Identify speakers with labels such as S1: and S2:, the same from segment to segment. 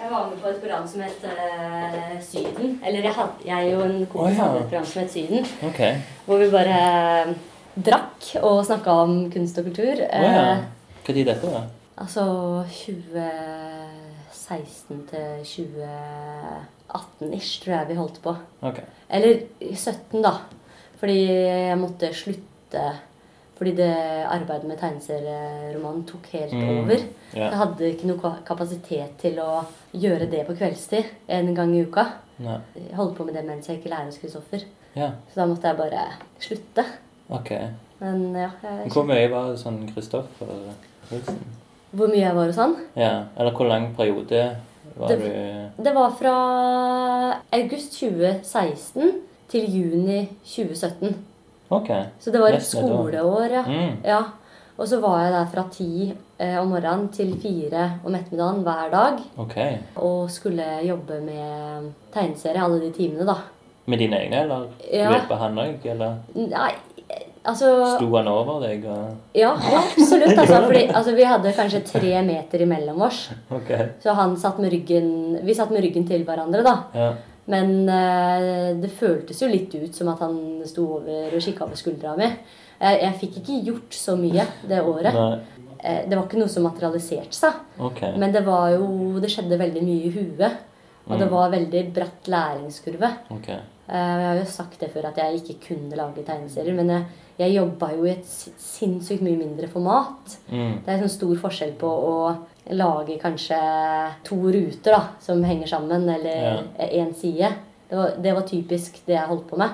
S1: Jeg var med på et program som het eh, Syden. Eller jeg, hadde, jeg er jo en
S2: Å,
S1: kompis
S2: ja.
S1: som hadde et program som het Syden.
S2: Ok.
S1: Hvor vi bare eh, drakk og snakka om kunst og kultur.
S2: Å ja.
S1: Eh,
S2: Hva tid dette var?
S1: Altså 2016 til 2018-ish tror jeg vi holdt på.
S2: Ok.
S1: Eller 17, da. Fordi jeg måtte slutte fordi det arbeidet med tegneserieromanen tok helt
S2: Mm.
S1: over.
S2: Ja.
S1: Jeg hadde ikke noe ka- kapasitet til å gjøre det på kveldstid en gang i uka.
S2: Nei.
S1: Jeg holdt på med det mens jeg gikk i lære hos Kristoffer.
S2: Ja.
S1: Så da måtte jeg bare slutte.
S2: Ok.
S1: Men ja, jeg,
S2: Hvor mye var det sånn Kristoffer Nilsen?
S1: Hvor mye jeg var og sånn?
S2: Ja. Eller hvor lang periode var
S1: Det-
S2: du
S1: Det var fra august 2016 til juni 2017.
S2: Ok.
S1: Så det var et
S2: Nesten et år.
S1: skoleår, ja.
S2: Mm.
S1: ja. Og så var jeg der fra ti eh, om morgenen til fire om ettermiddagen hver dag.
S2: Ok.
S1: Og skulle jobbe med tegneserie alle de timene, da.
S2: Med dine egne, eller
S1: Ja.
S2: hjelper han òg, eller
S1: Nei, eh, altså
S2: sto han over deg? Og...
S1: Ja, absolutt. Altså, fordi, altså, vi hadde kanskje tre meter imellom oss.
S2: Ok.
S1: Så han satt med ryggen Vi satt med ryggen til hverandre, da.
S2: Ja.
S1: Men eh, det føltes jo litt ut som at han sto over og kikka over skuldra mi. Jeg, jeg fikk ikke gjort så mye det året.
S2: Nei.
S1: Eh, det var ikke noe som materialiserte seg.
S2: Ok.
S1: Men det var jo Det skjedde veldig mye i huet. Og det var veldig bratt læringskurve.
S2: Ok.
S1: Eh, Jeg har jo sagt det før at jeg ikke kunne lage tegneserier, men jeg, jeg jobba jo i et si- sinnssykt mye mindre format.
S2: Mm.
S1: Det er sånn stor forskjell på å lage kanskje to ruter da, som henger sammen, eller én side. Det var, det var typisk det jeg holdt på med.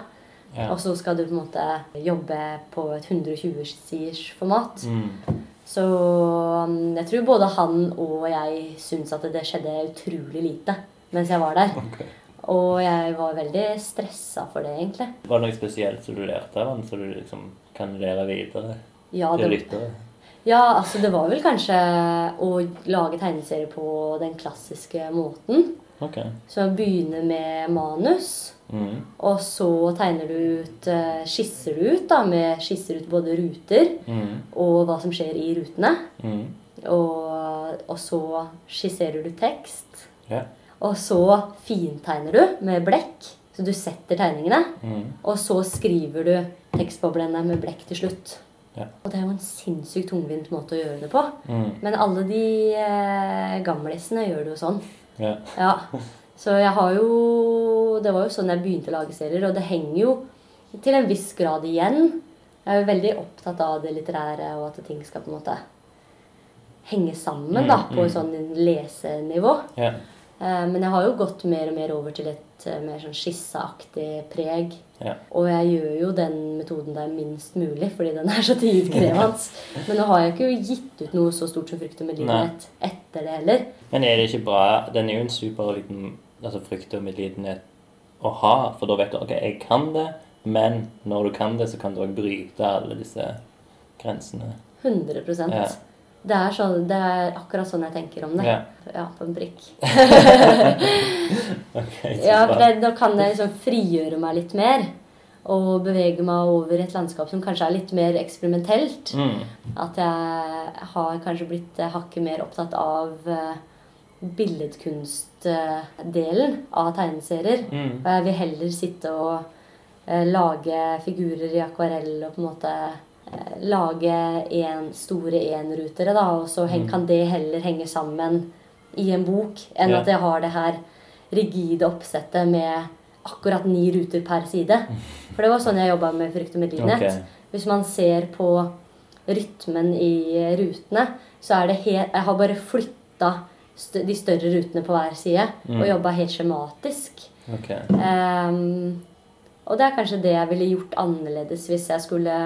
S2: Ja.
S1: Og så skal du på en måte jobbe på et 120-siders format.
S2: Mm.
S1: Så mm, jeg tror både han og jeg syns at det skjedde utrolig lite mens jeg var der.
S2: Ok.
S1: Og jeg var veldig stressa for det, egentlig.
S2: Var det noe spesielt som du lærte av han, som du liksom kan lære videre
S1: Ja,
S2: til
S1: det,
S2: lyttere?
S1: ja, altså det var vel kanskje å lage tegneserier på den klassiske måten.
S2: Ok.
S1: Så jeg begynner med manus,
S2: Mm.
S1: og så tegner du ut eh, Skisser du ut, da, med skisser ut både ruter
S2: Mm.
S1: og hva som skjer i rutene.
S2: Mm.
S1: Og, og så skisserer du tekst.
S2: Ja.
S1: Og så fintegner du med blekk, så du setter tegningene.
S2: Mm.
S1: Og så skriver du tekstboblene med blekk til slutt.
S2: Ja.
S1: Og det er jo en sinnssykt tungvint måte å gjøre det på.
S2: Mm.
S1: Men alle de eh, gamlisene gjør det jo sånn.
S2: Ja.
S1: Ja. Så jeg har jo Det var jo sånn jeg begynte å lage serier, og det henger jo til en viss grad igjen. Jeg er jo veldig opptatt av det litterære, og at ting skal på en måte henge sammen
S2: Mm,
S1: da, på
S2: mm.
S1: sånn lesenivå.
S2: Ja.
S1: Eh, Men jeg har jo gått mer og mer over til et eh, mer sånn skisseaktig preg.
S2: Ja.
S1: Og jeg gjør jo den metoden der minst mulig, fordi den er så tidkrevende. Men nå har jeg ikke gitt ut noe så stort som Frukt og medlidenhet etter det heller.
S2: Men er det ikke bra Den er jo en super liten altså frykt og medlidenhet å ha, for da vet du OK, jeg kan det, men når du kan det, så kan du òg bryte alle disse grensene.
S1: 100
S2: Ja.
S1: det, er sånn, det er akkurat sånn jeg tenker om det.
S2: Ja.
S1: Ja, på en prikk.
S2: OK, så
S1: Ja, for
S2: bra.
S1: det, Da kan jeg liksom frigjøre meg litt mer. Og bevege meg over et landskap som kanskje er litt mer eksperimentelt.
S2: Mm.
S1: At jeg har kanskje blitt eh, hakket mer opptatt av eh, billedkunstdelen av tegneserier.
S2: Mm.
S1: Og jeg vil heller sitte og eh, lage figurer i akvarell og på en måte eh, lage en, store enrutere, da, og så
S2: Mm.
S1: heng, kan det heller henge sammen i en bok enn
S2: Ja.
S1: at jeg har det her rigide oppsettet med akkurat ni ruter per side. For det var sånn jeg jobba med Frykt og medlidenhet.
S2: Ok.
S1: Hvis man ser på rytmen i eh, rutene, så er det helt Jeg har bare flytta st de større rutene på hver side
S2: Mm.
S1: og jobba helt skjematisk.
S2: OK.
S1: Ehm, og det er kanskje det jeg ville gjort annerledes hvis jeg skulle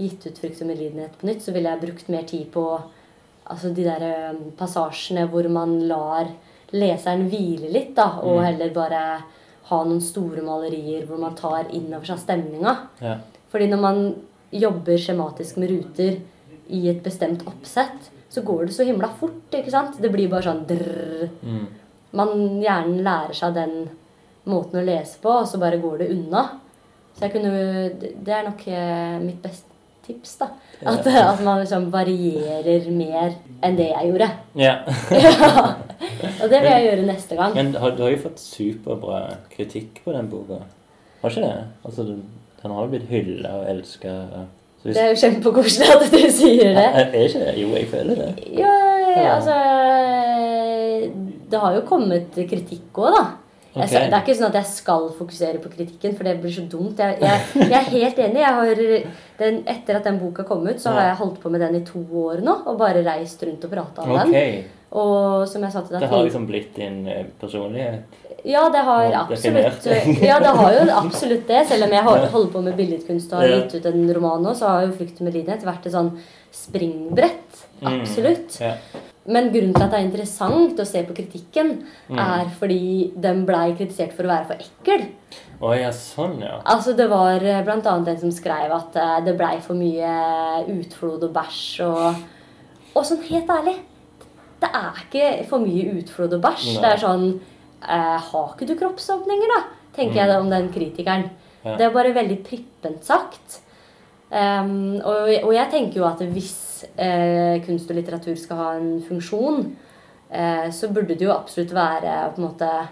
S1: gitt ut frukt og medlidenhet på nytt. Så ville jeg brukt mer tid på altså de der eh, passasjene hvor ehm, man lar leseren hviler litt, da, og
S2: Mm.
S1: heller bare ha noen store malerier hvor man tar innover seg stemninga.
S2: Ja.
S1: Fordi når man jobber skjematisk med ruter i et bestemt oppsett, så går det så himla fort, ikke sant? Det blir bare sånn drrrr.
S2: Mm.
S1: Man hjernen lærer seg den måten å lese på, og så bare går det unna. Så jeg kunne Det er nok eh, mitt beste tips, da. At, at man liksom varierer mer enn det jeg gjorde.
S2: ja.
S1: Og det vil jeg gjøre neste gang.
S2: Men har, du har jo fått superbra kritikk på den boka. Har ikke det? Altså, den den har jo blitt hylla og elska.
S1: Det er jo kjempekoselig at du sier det.
S2: Er, er ikke det? Jo, jeg føler det.
S1: Ja,
S2: Ja.
S1: altså Det har jo kommet kritikk òg, da. Jeg,
S2: Ok.
S1: sa- Det er ikke sånn at jeg skal fokusere på kritikken, for det blir så dumt. Jeg, jeg, jeg er helt enig. Jeg har, den, etter at den boka kom ut, så har
S2: Ja.
S1: jeg holdt på med den i to år nå. Og bare reist rundt og prata om
S2: Ok.
S1: den. Og som jeg sa til deg
S2: Det har
S1: tidlig-
S2: liksom blitt din eh, personlighet.
S1: Ja, det har
S2: Ja,
S1: absolutt
S2: definert.
S1: Ja, det har jo absolutt det. Selv om jeg hol- holder på med billedkunst og har
S2: Ja.
S1: gitt ut en roman nå, så har jo 'Flukt med lidenhet' vært et sånn springbrett.
S2: Mm.
S1: Absolutt.
S2: Ja.
S1: Men grunnen til at det er interessant å se på kritikken,
S2: Mm.
S1: er fordi den blei kritisert for å være for ekkel.
S2: Å ja, sånn, ja.
S1: Altså Det var eh, blant annet en som skrev at eh, det blei for mye utflod og bæsj og Og sånn helt ærlig, det er ikke for mye utflod og bæsj.
S2: Nei.
S1: Det er sånn eh, Har ikke du kroppsåpninger, da? Tenker jeg da om den kritikeren.
S2: Mm. Ja.
S1: Det er bare veldig prippent sagt. Ehm, og, og jeg tenker jo at hvis eh, kunst og litteratur skal ha en funksjon, eh, så burde det jo absolutt være å på en måte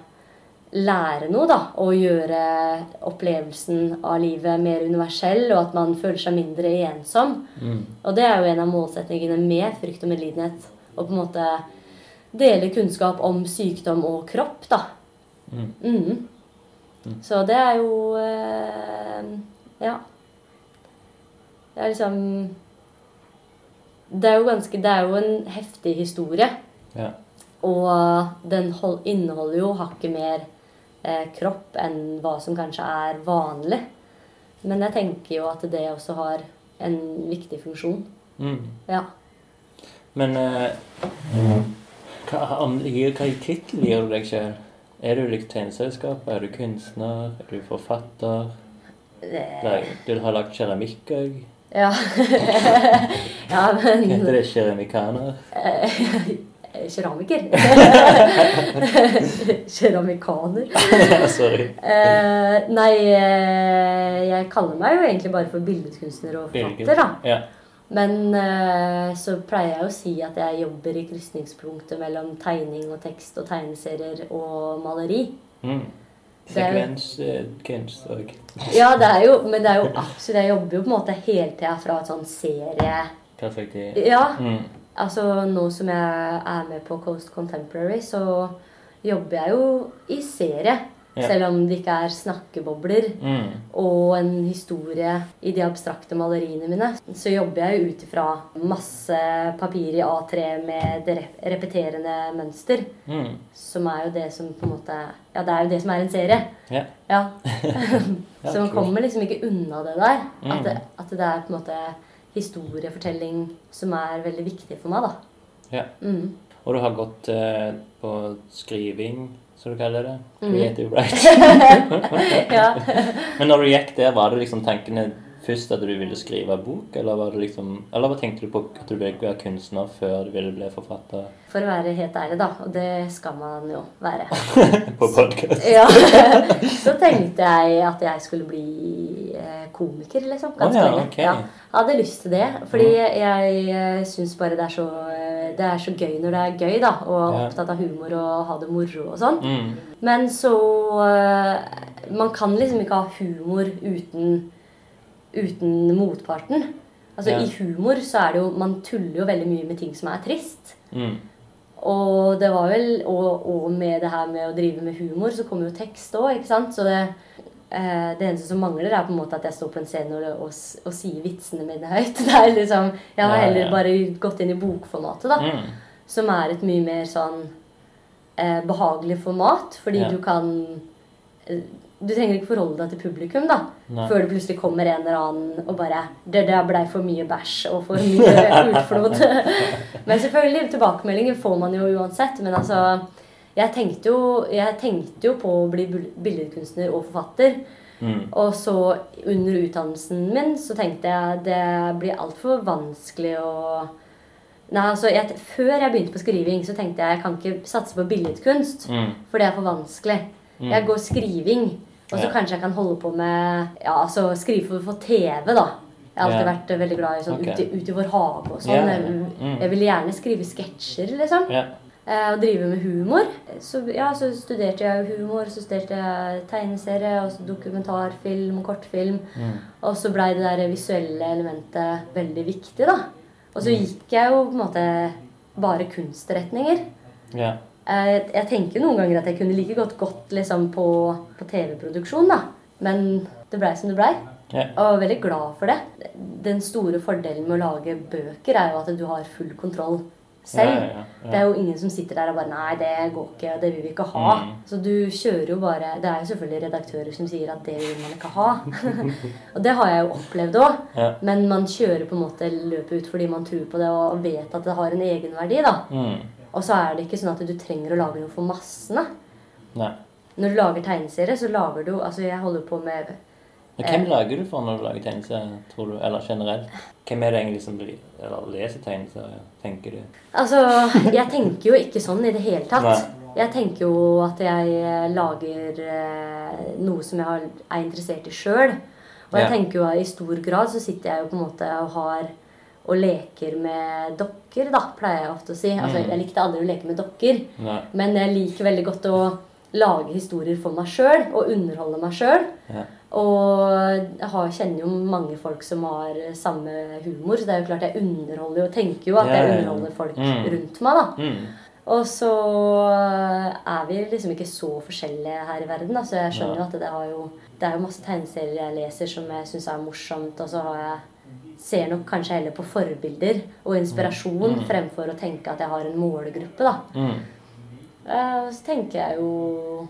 S1: lære noe, da. Og gjøre opplevelsen av livet mer universell, og at man føler seg mindre ensom.
S2: Mm.
S1: Og det er jo en av målsetningene med frykt og medlidenhet. Å på en måte dele kunnskap om sykdom og kropp, da.
S2: Mm.
S1: Mhm. Så det er jo eh, Ja. Det er liksom Det er jo ganske Det er jo en heftig historie.
S2: Ja.
S1: Og den hol- inneholder jo hakket mer eh, kropp enn hva som kanskje er vanlig. Men jeg tenker jo at det også har en viktig funksjon.
S2: Mm.
S1: Ja.
S2: Men eh, hva, om, hva tittel gir du deg sjøl? Er du liksom tegneselskap? Er du kunstner? Er du forfatter?
S1: Det-
S2: Nei, du har lagd keramikk òg.
S1: Eh, Ja. ja, men
S2: Heter det keramikaner?
S1: eh, Keramiker. Keramikaner.
S2: Sorry.
S1: Eh, nei, eh, jeg kaller meg jo egentlig bare for billedkunstner og
S2: Birgit.
S1: forfatter, da.
S2: Ja.
S1: Men eh, så pleier jeg å si at jeg jobber i krysningspunktet mellom tegning og tekst og tegneserier og maleri.
S2: Mm. eh,
S1: Det er jo-
S2: Sekvenskunst òg.
S1: Ja, det er jo, men det er jo absolutt Jeg jobber jo på en måte hele tida fra et sånn serie...
S2: Perspektiv.
S1: Ja,
S2: Mm.
S1: altså nå som jeg er med på Coast Contemporary, så jobber jeg jo i serie.
S2: Ja.
S1: Selv om det ikke er snakkebobler
S2: Mm.
S1: og en historie i de abstrakte maleriene mine, så jobber jeg jo ut ifra masse papir i A3 med det rep- repeterende mønster.
S2: Mm.
S1: Som er jo det som på en måte Ja, det er jo det som er en serie.
S2: Ja.
S1: Ja.
S2: Ja,
S1: så man
S2: kult.
S1: kommer liksom ikke unna det der.
S2: Mm.
S1: At det, at det er på en måte historiefortelling som er veldig viktig for meg, da.
S2: Ja.
S1: Mm.
S2: Og du har gått eh, på skriving, som du kaller det.
S1: Mhm.
S2: Creative writing.
S1: ja.
S2: Men når du gikk der, var det liksom tankene først at du ville skrive bok, eller var det liksom Eller hva tenkte du på at du ville være kunstner før du ville bli forfatter
S1: For å være helt ærlig, da. Og det skal man jo være.
S2: på podkast?
S1: Ja. Så tenkte jeg at jeg skulle bli eh, komiker, liksom. Ganske
S2: Å ja,
S1: lenge.
S2: ok. Mm.
S1: Ja. Jeg hadde lyst til det. Fordi jeg syns bare det er, så, eh, det er så gøy når det er gøy, da. Og
S2: Ja.
S1: opptatt av humor og ha det moro og sånn.
S2: Mm.
S1: Men så eh, Man kan liksom ikke ha humor uten, uten motparten. Altså
S2: Ja.
S1: I humor så er det jo Man tuller jo veldig mye med ting som er trist.
S2: Mm.
S1: Og det var vel, og, og med det her med å drive med humor, så kommer jo tekst òg, ikke sant. Så det, eh, det eneste som mangler, er på en måte at jeg står på en scene og, og, s- og sier vitsene mine høyt. Det er liksom, Jeg har
S2: Ja, ja,
S1: heller
S2: ja.
S1: bare gått inn i bokformatet, da.
S2: Mm.
S1: Som er et mye mer sånn eh, behagelig format, fordi
S2: Ja.
S1: du kan eh, Du trenger ikke forholde deg til publikum, da.
S2: Nei.
S1: Før det plutselig kommer en eller annen og bare 'Det der blei for mye bæsj og for mye utflod'. men selvfølgelig, tilbakemeldinger får man jo uansett. Men altså Jeg tenkte jo, jeg tenkte jo på å bli bul- billedkunstner og forfatter.
S2: Mm.
S1: Og så under utdannelsen min så tenkte jeg det blir altfor vanskelig å Nei, altså, jeg, Før jeg begynte på skriving, så tenkte jeg jeg kan ikke satse på billedkunst.
S2: Mm.
S1: For det er for vanskelig.
S2: Mm.
S1: Jeg går skriving. Og så
S2: Ja.
S1: kanskje jeg kan holde på med ja, altså skrive for, for TV, da. Jeg har alltid
S2: Ja.
S1: vært eh, veldig glad i sånn
S2: Ok.
S1: ut, i- ut i vår hage og sånn.
S2: Ja, ja, ja.
S1: Jeg,
S2: Mm.
S1: jeg ville gjerne skrive sketsjer, liksom.
S2: Ja.
S1: Eh, og drive med humor. Så, ja, så studerte jeg humor, så studerte jeg tegneserie, og så dokumentarfilm og kortfilm.
S2: Mm.
S1: Og så blei det der visuelle elementet veldig viktig, da. Og
S2: Mm.
S1: så gikk jeg jo på en måte bare kunstretninger.
S2: ja.
S1: Eh, Jeg tenker noen ganger at jeg kunne like godt gått liksom, på, på TV-produksjon, da. Men det blei som det blei.
S2: Ja.
S1: Og jeg var veldig glad for det. Den store fordelen med å lage bøker er jo at du har full kontroll selv.
S2: Ja, ja, ja.
S1: Det er jo ingen som sitter der og bare Nei, det går ikke, og det vil vi ikke ha.
S2: Mm.
S1: Så du kjører jo bare Det er jo selvfølgelig redaktører som sier at det vil man ikke ha. og det har jeg jo opplevd òg.
S2: Ja.
S1: Men man kjører på en måte løpet ut fordi man tror på det og vet at det har en egenverdi, da.
S2: Mm.
S1: Og så er det ikke sånn at du trenger å lage noe for massene.
S2: Nei.
S1: Når du lager tegneserie, så lager du Altså, jeg holder på med
S2: Men hvem
S1: Eh.
S2: lager du for når du lager tegneserier, tror du? Eller generelt? Hvem er det egentlig som blir, eller leser tegneserier, tenker du?
S1: Altså, jeg tenker jo ikke sånn i det hele tatt.
S2: Nei.
S1: Jeg tenker jo at jeg eh, lager eh, noe som jeg har- er interessert i sjøl. Og jeg
S2: Ja.
S1: tenker jo at i stor grad så sitter jeg jo på en måte og har og leker med dokker, da, pleier jeg ofte å si. Altså,
S2: Mm.
S1: jeg likte aldri å leke med dokker.
S2: Nei.
S1: Men jeg liker veldig godt å lage historier for meg sjøl og underholde meg sjøl.
S2: Ja.
S1: Og jeg har, kjenner jo mange folk som har samme humor, så det er jo klart jeg underholder jo og tenker jo at
S2: Ja, ja,
S1: jeg
S2: ja.
S1: underholder folk
S2: Mm.
S1: rundt meg, da.
S2: Mm.
S1: Og så er vi liksom ikke så forskjellige her i verden, da, så jeg skjønner jo at det, har jo, det er jo masse tegneserier jeg leser som jeg syns er morsomt, og så har jeg ser nok kanskje heller på forbilder og inspirasjon
S2: Mm.
S1: fremfor å tenke at jeg har en målgruppe, da.
S2: Mm.
S1: Eh, Og så tenker jeg jo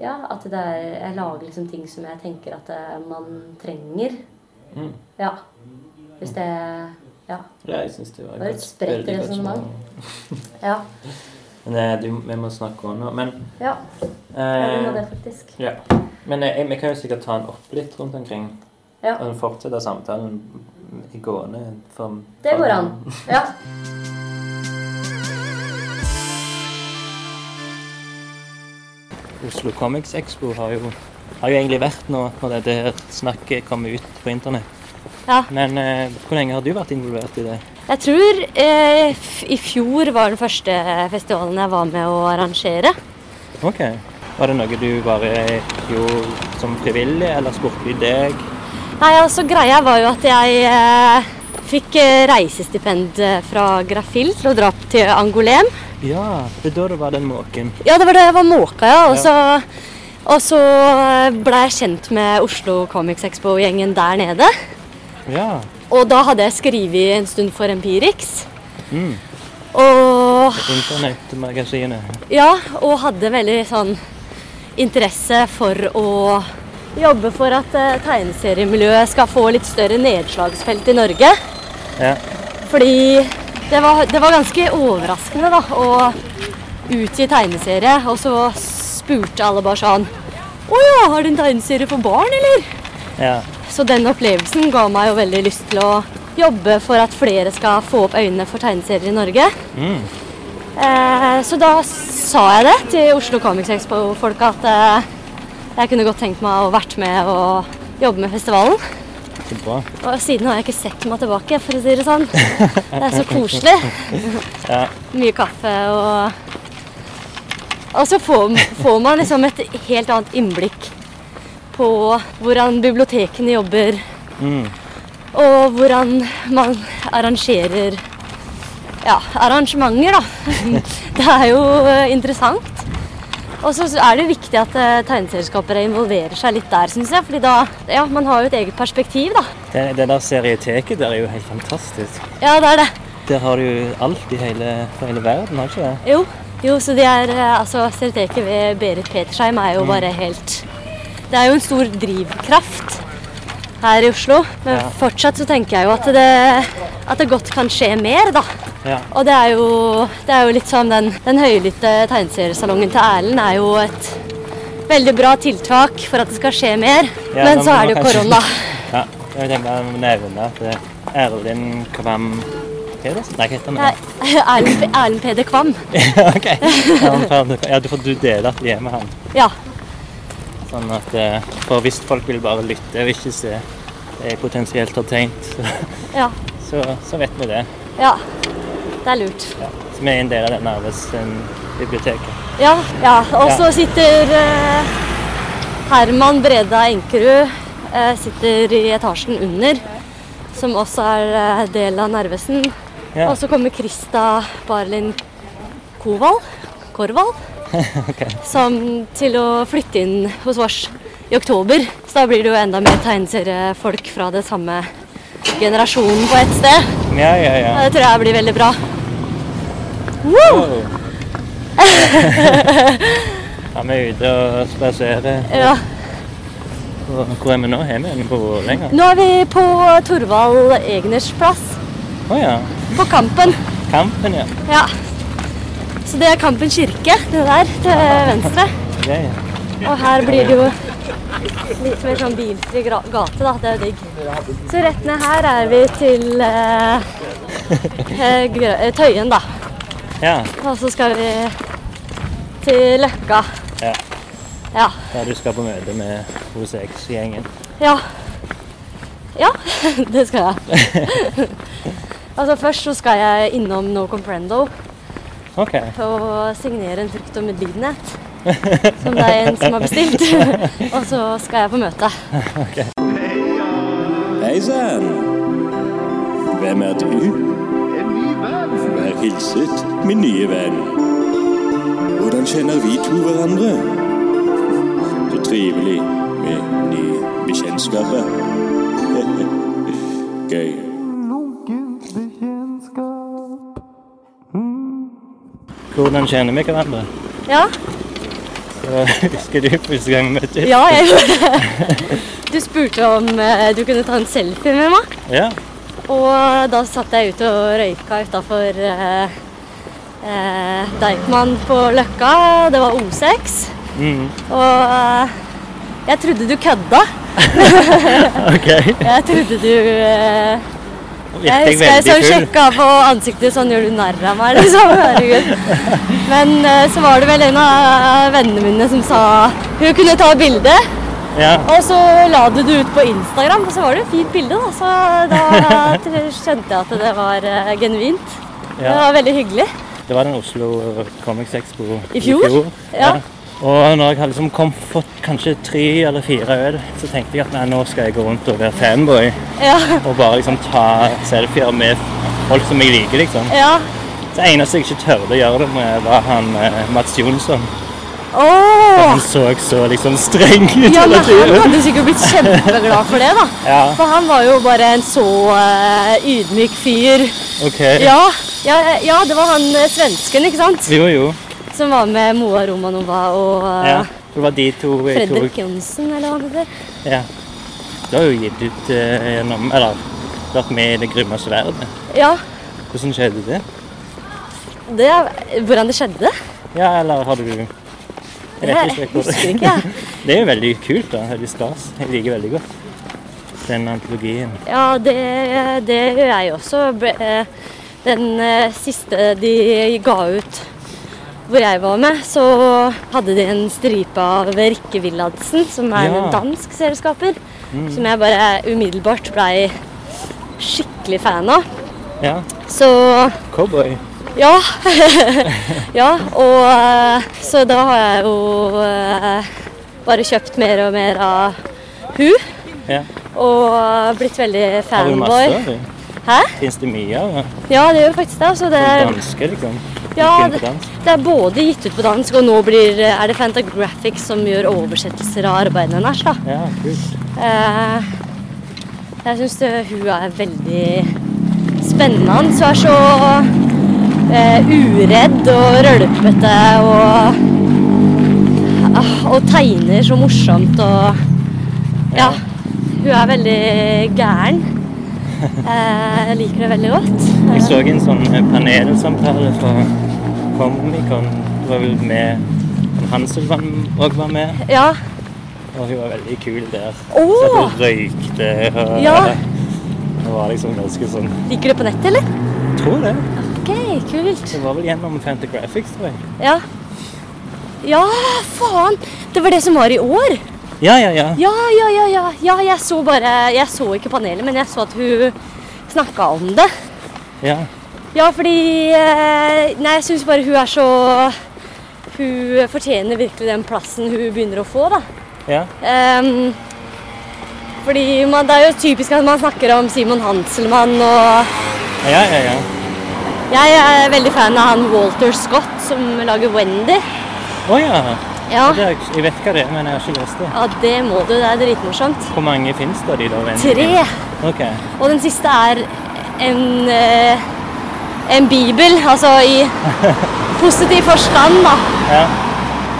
S1: ja, at det er, jeg lager liksom ting som jeg tenker at eh, man trenger.
S2: Mm.
S1: Ja. Hvis det Ja.
S2: Ja, jeg syns det var
S1: Det var et spredt
S2: veldig godt
S1: resonnement.
S2: spørsmål.
S1: Ja.
S2: Men eh, du, vi må snakke om det. Men
S1: ja. Jeg må
S2: eh,
S1: det, faktisk.
S2: ja. Men eh, vi kan jo sikkert ta den opp litt rundt omkring.
S1: Ja.
S2: Og fortsette samtalen i gående. For,
S1: Det går an. Ja.
S2: Oslo Comics Expo har jo, har jo egentlig vært nå når dette her snakket kommer ut på internett.
S1: ja.
S2: Men eh, hvor lenge har du vært involvert i det?
S1: Jeg tror eh, f- i fjor var den første festivalen jeg var med å arrangere.
S2: Ok. Var det noe du bare gjorde som frivillig, eller spurte de deg?
S1: Nei, altså Greia var jo at jeg eh, fikk eh, reisestipend eh, fra Grafil til å dra opp til Angolem.
S2: Ja, det er da du var den måken.
S1: Ja, det var da jeg var måka, ja. Og så, og så eh, ble jeg kjent med Oslo Comics Expo-gjengen der nede.
S2: Ja.
S1: Og da hadde jeg skrevet en stund for Empirix.
S2: Mm.
S1: Og
S2: Internettmagasinet.
S1: ja, og hadde veldig sånn interesse for å jobbe for at eh, tegneseriemiljøet skal få litt større nedslagsfelt i Norge.
S2: Ja.
S1: Fordi det var, det var ganske overraskende da, å utgi tegneserie, og så spurte alle bare sånn Å ja, har du en tegneserie for barn, eller?
S2: ja.
S1: Så den opplevelsen ga meg jo veldig lyst til å jobbe for at flere skal få opp øynene for tegneserier i Norge.
S2: Mm.
S1: Eh, så da sa jeg det til Oslo Comics Expo-folka at eh, jeg kunne godt tenkt meg å vært med og jobbe med festivalen.
S2: Så bra.
S1: Og siden har jeg ikke sett meg tilbake, for å si det sånn. Det er så koselig.
S2: Ja.
S1: mye kaffe og Og så får, får man liksom et helt annet innblikk på hvordan bibliotekene jobber,
S2: Mm.
S1: og hvordan man arrangerer ja, arrangementer, da. Det er jo eh, interessant. Og så er det jo viktig at eh, tegneserieskapere involverer seg litt der, syns jeg. fordi da, ja, man har jo et eget perspektiv, da.
S2: Det, det der serieteket der er jo helt fantastisk.
S1: Ja, det er det.
S2: Der har du jo alt i hele, for hele verden, har du ikke det?
S1: Jo, jo så de er, eh, altså, Stereoteket ved Berit Petersheim er jo
S2: Mm.
S1: bare helt Det er jo en stor drivkraft her i Oslo. Men
S2: Ja.
S1: fortsatt så tenker jeg jo at det, at det godt kan skje mer, da.
S2: Ja.
S1: Og det er jo, det er jo litt sånn den, den høylytte tegneseriesalongen til Erlend er jo et veldig bra tiltak for at det skal skje mer.
S2: Ja,
S1: Men
S2: da
S1: så
S2: må
S1: er det jo
S2: kanskje-
S1: korona.
S2: Ja, jeg tenker jeg må nevne at eh, Erlend Kvam Pedersen? Nei, hva heter han?
S1: Nei, Erlend, P- Erlend Peder Kvam.
S2: Ja, ok. Erlend Pedersen. Ja, du får du dele at vi er med han.
S1: Ja.
S2: Sånn at, eh, for hvis folk vil bare lytte og ikke se det jeg potensielt har tegnet, så,
S1: Ja.
S2: så, så vet vi det.
S1: ja. Det er lurt.
S2: Ja. Så vi er en del av um, denne arbeidsbiblioteket.
S1: Ja. ja. Og så
S2: Ja.
S1: sitter eh, Herman Breda Enkerud eh, sitter i etasjen under, som også er eh, del av Narvesen.
S2: Ja,
S1: Og så kommer Krista Barlin Koval, Korval,
S2: ok.
S1: som til å flytte inn hos oss i oktober. Så da blir det jo enda mer tegneseriefolk fra det samme generasjonen på ett sted.
S2: Ja, ja, ja.
S1: Og det tror jeg blir veldig bra.
S2: Wow. Ja, vi er ute og spaserer.
S1: Ja.
S2: Og Hvor er vi nå? Er vi inne på Vålerenga?
S1: Nå er vi på Torvald Egners plass,
S2: Å ja.
S1: på Kampen.
S2: Kampen, ja.
S1: Ja. Så det er Kampen kirke, det der til venstre.
S2: Ja, ja.
S1: Og her blir det jo litt mer sånn bilfri gra- gate, da. Det er jo digg. Så rett ned her er vi til eh, eh, Grø- eh, Tøyen, da.
S2: ja.
S1: Og så skal vi til Løkka.
S2: Ja.
S1: Ja.
S2: Der du skal på møte med OCX-gjengen.
S1: Ja. Ja, det skal jeg. altså Først så skal jeg innom No Comprendo
S2: OK.
S1: og signere en frukt om medlidenhet. Som det er en som har bestilt. og så skal jeg på møte.
S3: Hei sann! Hvem er du? Vær hilset, min nye venn. Hvordan kjenner vi to hverandre? Så trivelig med nye bekjentskaper. Gøy.
S2: Hvordan kjenner vi hverandre?
S1: Ja,
S2: Så husker du første gang vi møttes?
S1: ja jeg gjorde det. Du spurte om eh, du kunne ta en selfie med meg.
S2: Ja.
S1: Og da satt jeg ute og røyka utafor eh, eh, Deichman på Løkka. Det var O6.
S2: Mm.
S1: Og eh, jeg trodde du kødda.
S2: OK.
S1: Jeg trodde du eh, Jeg
S2: Virker jeg
S1: husker jeg
S2: veldig
S1: så
S2: full?
S1: sjekka på ansiktet sånn Gjør du narr av meg, liksom? Herregud. Men eh, så var det vel en av vennene mine som sa hun kunne ta bilde.
S2: Ja.
S1: Og så la du det ut på Instagram, og så var det et fint bilde, da. Så da tr- skjønte jeg at det var eh, genuint. Det
S2: ja.
S1: var veldig hyggelig.
S2: Det var den Oslo Comics Expo
S1: I fjor? Ja.
S2: Og når jeg hadde liksom kom, fått kanskje tre eller fire øl, så tenkte jeg at nei, nå skal jeg gå rundt og være fanboy
S1: Ja.
S2: og bare liksom ta selfier med folk som jeg liker, liksom.
S1: ja.
S2: Det eneste jeg ikke tørde å gjøre det med, var han eh, Mats Jonsson.
S1: Åh!
S2: Han så så liksom streng ut.
S1: Ja, men han
S2: hele tiden.
S1: hadde sikkert blitt kjempeglad for det, da.
S2: Ja.
S1: For han var jo bare en så eh, ydmyk fyr.
S2: Ok.
S1: Ja, ja, ja, det var han eh, svensken, ikke sant?
S2: Jo, jo.
S1: Som var med Moa Romanova og eh,
S2: Ja. Det var de to jeg tok.
S1: Fredrik Johnsen, eller hva det heter.
S2: Ja. Du har jo gitt ut eh, gjennom Eller vært med i Det grymme sverdet.
S1: Ja,
S2: Hvordan skjedde det?
S1: det er hvordan det skjedde.
S2: Ja, eller har du Jeg vet ikke
S1: Jeg
S2: hvor
S1: husker ikke, jeg.
S2: Det er jo veldig kult, da. Veldig stas. Jeg liker veldig godt den antologien.
S1: Ja, det, det gjør jeg også. Ble- eh, Den eh, siste de ga ut hvor jeg var med, så hadde de en stripe av Rikke Willadsen, som er
S2: Ja. Mm.
S1: en dansk serieskaper. Som jeg bare umiddelbart blei skikkelig fan av.
S2: Ja.
S1: Så
S2: Cowboy.
S1: Ja. ja, og eh, så da har jeg jo eh, bare kjøpt mer og mer av hun.
S2: Ja.
S1: Og blitt veldig
S2: Har du masse av
S1: fanboy.
S2: dem?
S1: Hæ?
S2: Fins det mye av dem?
S1: Ja, det gjør faktisk det. Så det er,
S2: Danske, liksom?
S1: Eh, ja,
S2: Ikke
S1: det,
S2: dansk?
S1: det er både gitt ut på dansk, og nå blir, er det Fantagraphics som gjør oversettelser av arbeidene hennes. da.
S2: Ja, kult.
S1: Eh, jeg syns hun er veldig spennende. Hun er så eh, uredd og rølpete og ah, Og tegner så morsomt og Ja. Hun er veldig gæren. Eh, Jeg liker det veldig godt.
S2: Jeg så en sånn panelsamtale fra Comicon. Du var vel med Hanselvann òg var med.
S1: Ja.
S2: Og hun var veldig kul der.
S1: Åh!
S2: Så hun røykte og
S1: Ja.
S2: Det var liksom ganske sånn
S1: Ligger det på nettet, eller?
S2: Tror det.
S1: OK, kult.
S2: Det var vel gjennom Fantagraphics, tror jeg.
S1: Ja. Ja, faen! Det var det som var i år.
S2: Ja, ja, ja.
S1: Ja, ja, ja. ja, ja jeg så bare Jeg så ikke panelet, men jeg så at hun snakka om det.
S2: Ja,
S1: Ja, fordi eh, Nei, jeg syns bare hun er så Hun fortjener virkelig den plassen hun begynner å få, da.
S2: ja.
S1: Ehm, fordi man, det er jo typisk at man snakker om Simon Hanselmann, og
S2: ja, ja, ja.
S1: jeg er veldig fan av han Walter Scott som lager Wendy.
S2: Å ja.
S1: Ja,
S2: Det er, jeg vet hva det er, men jeg har ikke lest det.
S1: ja det må du. Det er dritmorsomt.
S2: Hvor mange fins det av de da? venner?
S1: Tre.
S2: Ok.
S1: Og den siste er en eh, en bibel, altså i positiv forstand, da.
S2: Ja.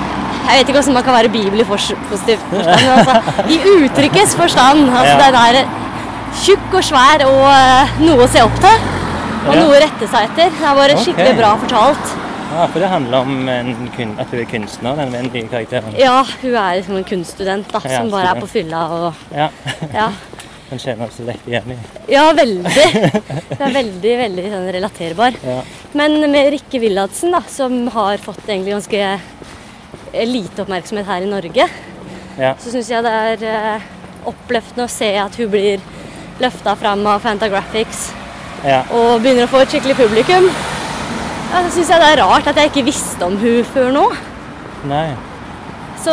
S1: Jeg vet ikke hvordan man kan være bibel i fors positiv forstand, men altså, i uttrykkets forstand. Altså,
S2: Ja.
S1: Den er tjukk og svær og eh, noe å se opp til. Og
S2: Ja.
S1: noe å rette seg etter. Det er bare
S2: Ok.
S1: skikkelig bra fortalt.
S2: Ah, for det handler om en kun, at du er kunstner, den vennlige karakteren.
S1: Ja, hun er liksom en kunststudent da,
S2: Ja,
S1: som bare er
S2: student.
S1: på fylla og
S2: Ja.
S1: Ja,
S2: Den kjenner seg lett igjen i.
S1: ja veldig. Hun er veldig, veldig sånn, relaterbar.
S2: Ja.
S1: Men med Rikke Willadsen, da, som har fått egentlig ganske eh, lite oppmerksomhet her i Norge,
S2: Ja.
S1: så syns jeg det er eh, oppløftende å se at hun blir løfta fram av Fantagraphics
S2: ja.
S1: og begynner å få et skikkelig publikum. Ja, så syns jeg det er rart at jeg ikke visste om hun før nå.
S2: Nei.
S1: Så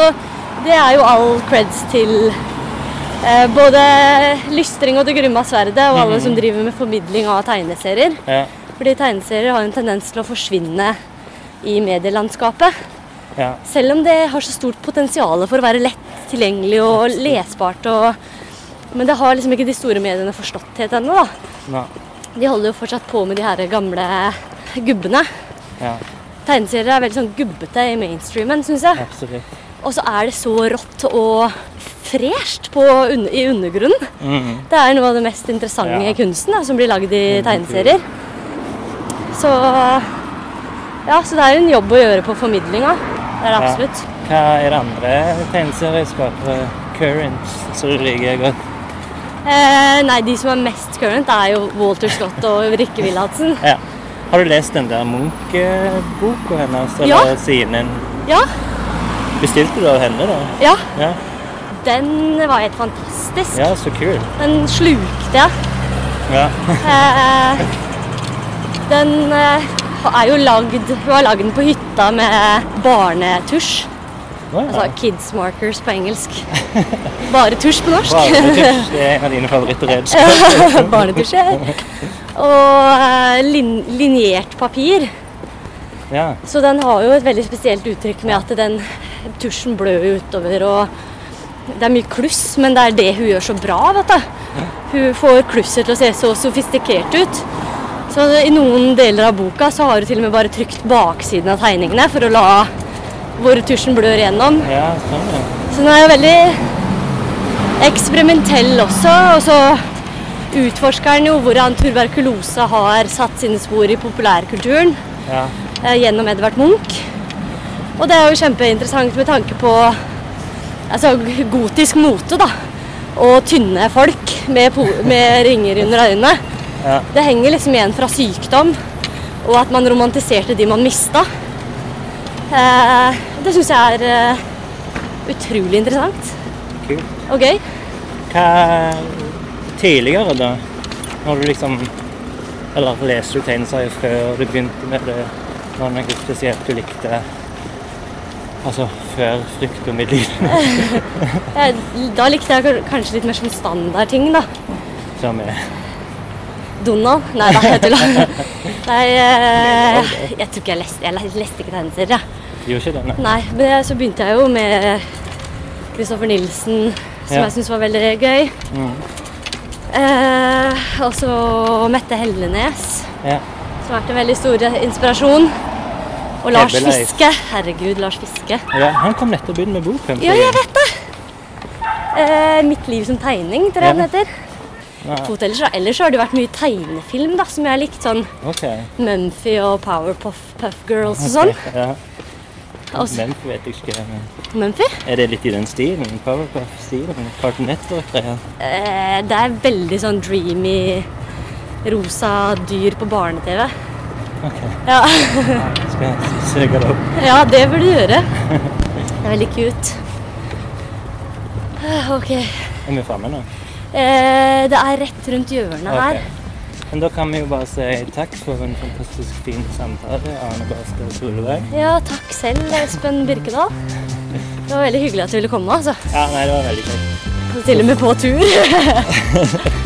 S1: det er jo all creds til eh, både Lystring og Det grumma sverdet og alle som driver med formidling av tegneserier.
S2: Ja.
S1: Fordi tegneserier har en tendens til å forsvinne i medielandskapet.
S2: Ja.
S1: Selv om det har så stort potensial for å være lett tilgjengelig og lesbart. Og, men det har liksom ikke de store mediene forstått helt ennå. da.
S2: Nei.
S1: De holder jo fortsatt på med de her gamle gubbene.
S2: Ja.
S1: Tegneserier er veldig sånn gubbete i mainstreamen, syns jeg.
S2: Absolutt.
S1: Og så er det så rått og fresht på, un i undergrunnen.
S2: Mm.
S1: Det er noe av det mest interessante
S2: Ja.
S1: i kunsten da, som blir lagd i
S2: Mm,
S1: tegneserier. Så ja, så det er en jobb å gjøre på formidlinga. Det er det
S2: Ja.
S1: absolutt.
S2: Hva er det andre tegneserieskapere? Current, så du liker godt.
S1: Eh, nei, de som er mest current, er jo Walter Scott og Rikke Wilhelmsen.
S2: Ja. Har du lest den der Munch-boka hennes?
S1: Ja.
S2: Eller sinen?
S1: Ja,
S2: Bestilte du av henne, da?
S1: ja.
S2: Ja.
S1: Den var helt fantastisk.
S2: Ja, så kult.
S1: Den slukte jeg.
S2: Ja.
S1: Eh, den eh, er jo lagd Hun har lagd den på hytta med barnetusj.
S2: Wow.
S1: Altså kids markers på engelsk. Bare tusj på norsk.
S2: Wow, det er en av dine favorittredskaper.
S1: Barnetusjer. Og eh, lin linjert papir.
S2: Ja.
S1: Så den har jo et veldig spesielt uttrykk med at den tusjen blør jo utover og det er mye kluss, men det er det hun gjør så bra, vet du. Hun får klusset til å se så sofistikert ut. Så i noen deler av boka så har hun til og med bare trykt baksiden av tegningene for å la hvor tusjen blør gjennom.
S2: ja, sånn ja.
S1: Så den er jo veldig eksperimentell også, og så utforsker den jo hvordan tuberkulose har satt sine spor i populærkulturen
S2: ja.
S1: eh, gjennom Edvard Munch. Og det er jo kjempeinteressant med tanke på altså, gotisk mote, da. Og tynne folk med, po med ringer under øynene.
S2: Ja.
S1: Det henger liksom igjen fra sykdom, og at man romantiserte de man mista. Eh, det syns jeg er eh, utrolig interessant
S2: Kult.
S1: og gøy.
S2: Hva tidligere, da? Når du liksom Eller leste du tegneserier før du begynte med det? Var det noe spesielt du likte? Altså før frykt og medliden
S1: Eh, da likte jeg kan- kanskje litt mer sånn standardting, da.
S2: som er
S1: Donald? Nei da, jeg tuller. Nei, eh, jeg tror ikke jeg leste, jeg leste ikke tegneserier. jeg.
S2: Gjorde ikke det? nei?
S1: Nei, men jeg- så begynte jeg jo med Christoffer Nilsen, som
S2: Ja.
S1: jeg syntes var veldig gøy.
S2: Mm.
S1: Eh, og så Mette Hellenes,
S2: Ja.
S1: som har vært en veldig stor inspirasjon. Og Lars
S2: Hebbeleif.
S1: Fiske. Herregud, Lars Fiske.
S2: ja. Han kom nettopp inn med boken.
S1: Ja, jeg vet det! Eh, Mitt liv som tegning, tror jeg den
S2: Ja.
S1: heter. kvota. Ellers, ellers har det vært mye tegnefilm da, som jeg har likt. Sånn
S2: OK.
S1: Mumphy og Powerpuff Puff Girls og sånn. Altså.
S2: Ja.
S1: Og så-
S2: Memphis vet jeg ikke. Men
S1: Mumphy?
S2: er det litt i den stilen? Powerpuff-stilen? Cartoon Network-greier?
S1: Eh, det er veldig sånn dreamy, rosa dyr på barne-TV.
S2: OK.
S1: Ja.
S2: Skal jeg søke det opp?
S1: ja, det burde du gjøre. Det er veldig cute. Eh, Ok.
S2: Er vi framme nå?
S1: Eh, det er rett rundt hjørnet her.
S2: Ok. Men da kan vi jo bare si takk for en fantastisk fin samtale, Arne Barstad Solveig.
S1: Ja, takk selv, Espen Birkedal. Det var veldig hyggelig at du ville komme. altså.
S2: Ja, nei, det var veldig kjekt.
S1: Til og med på tur.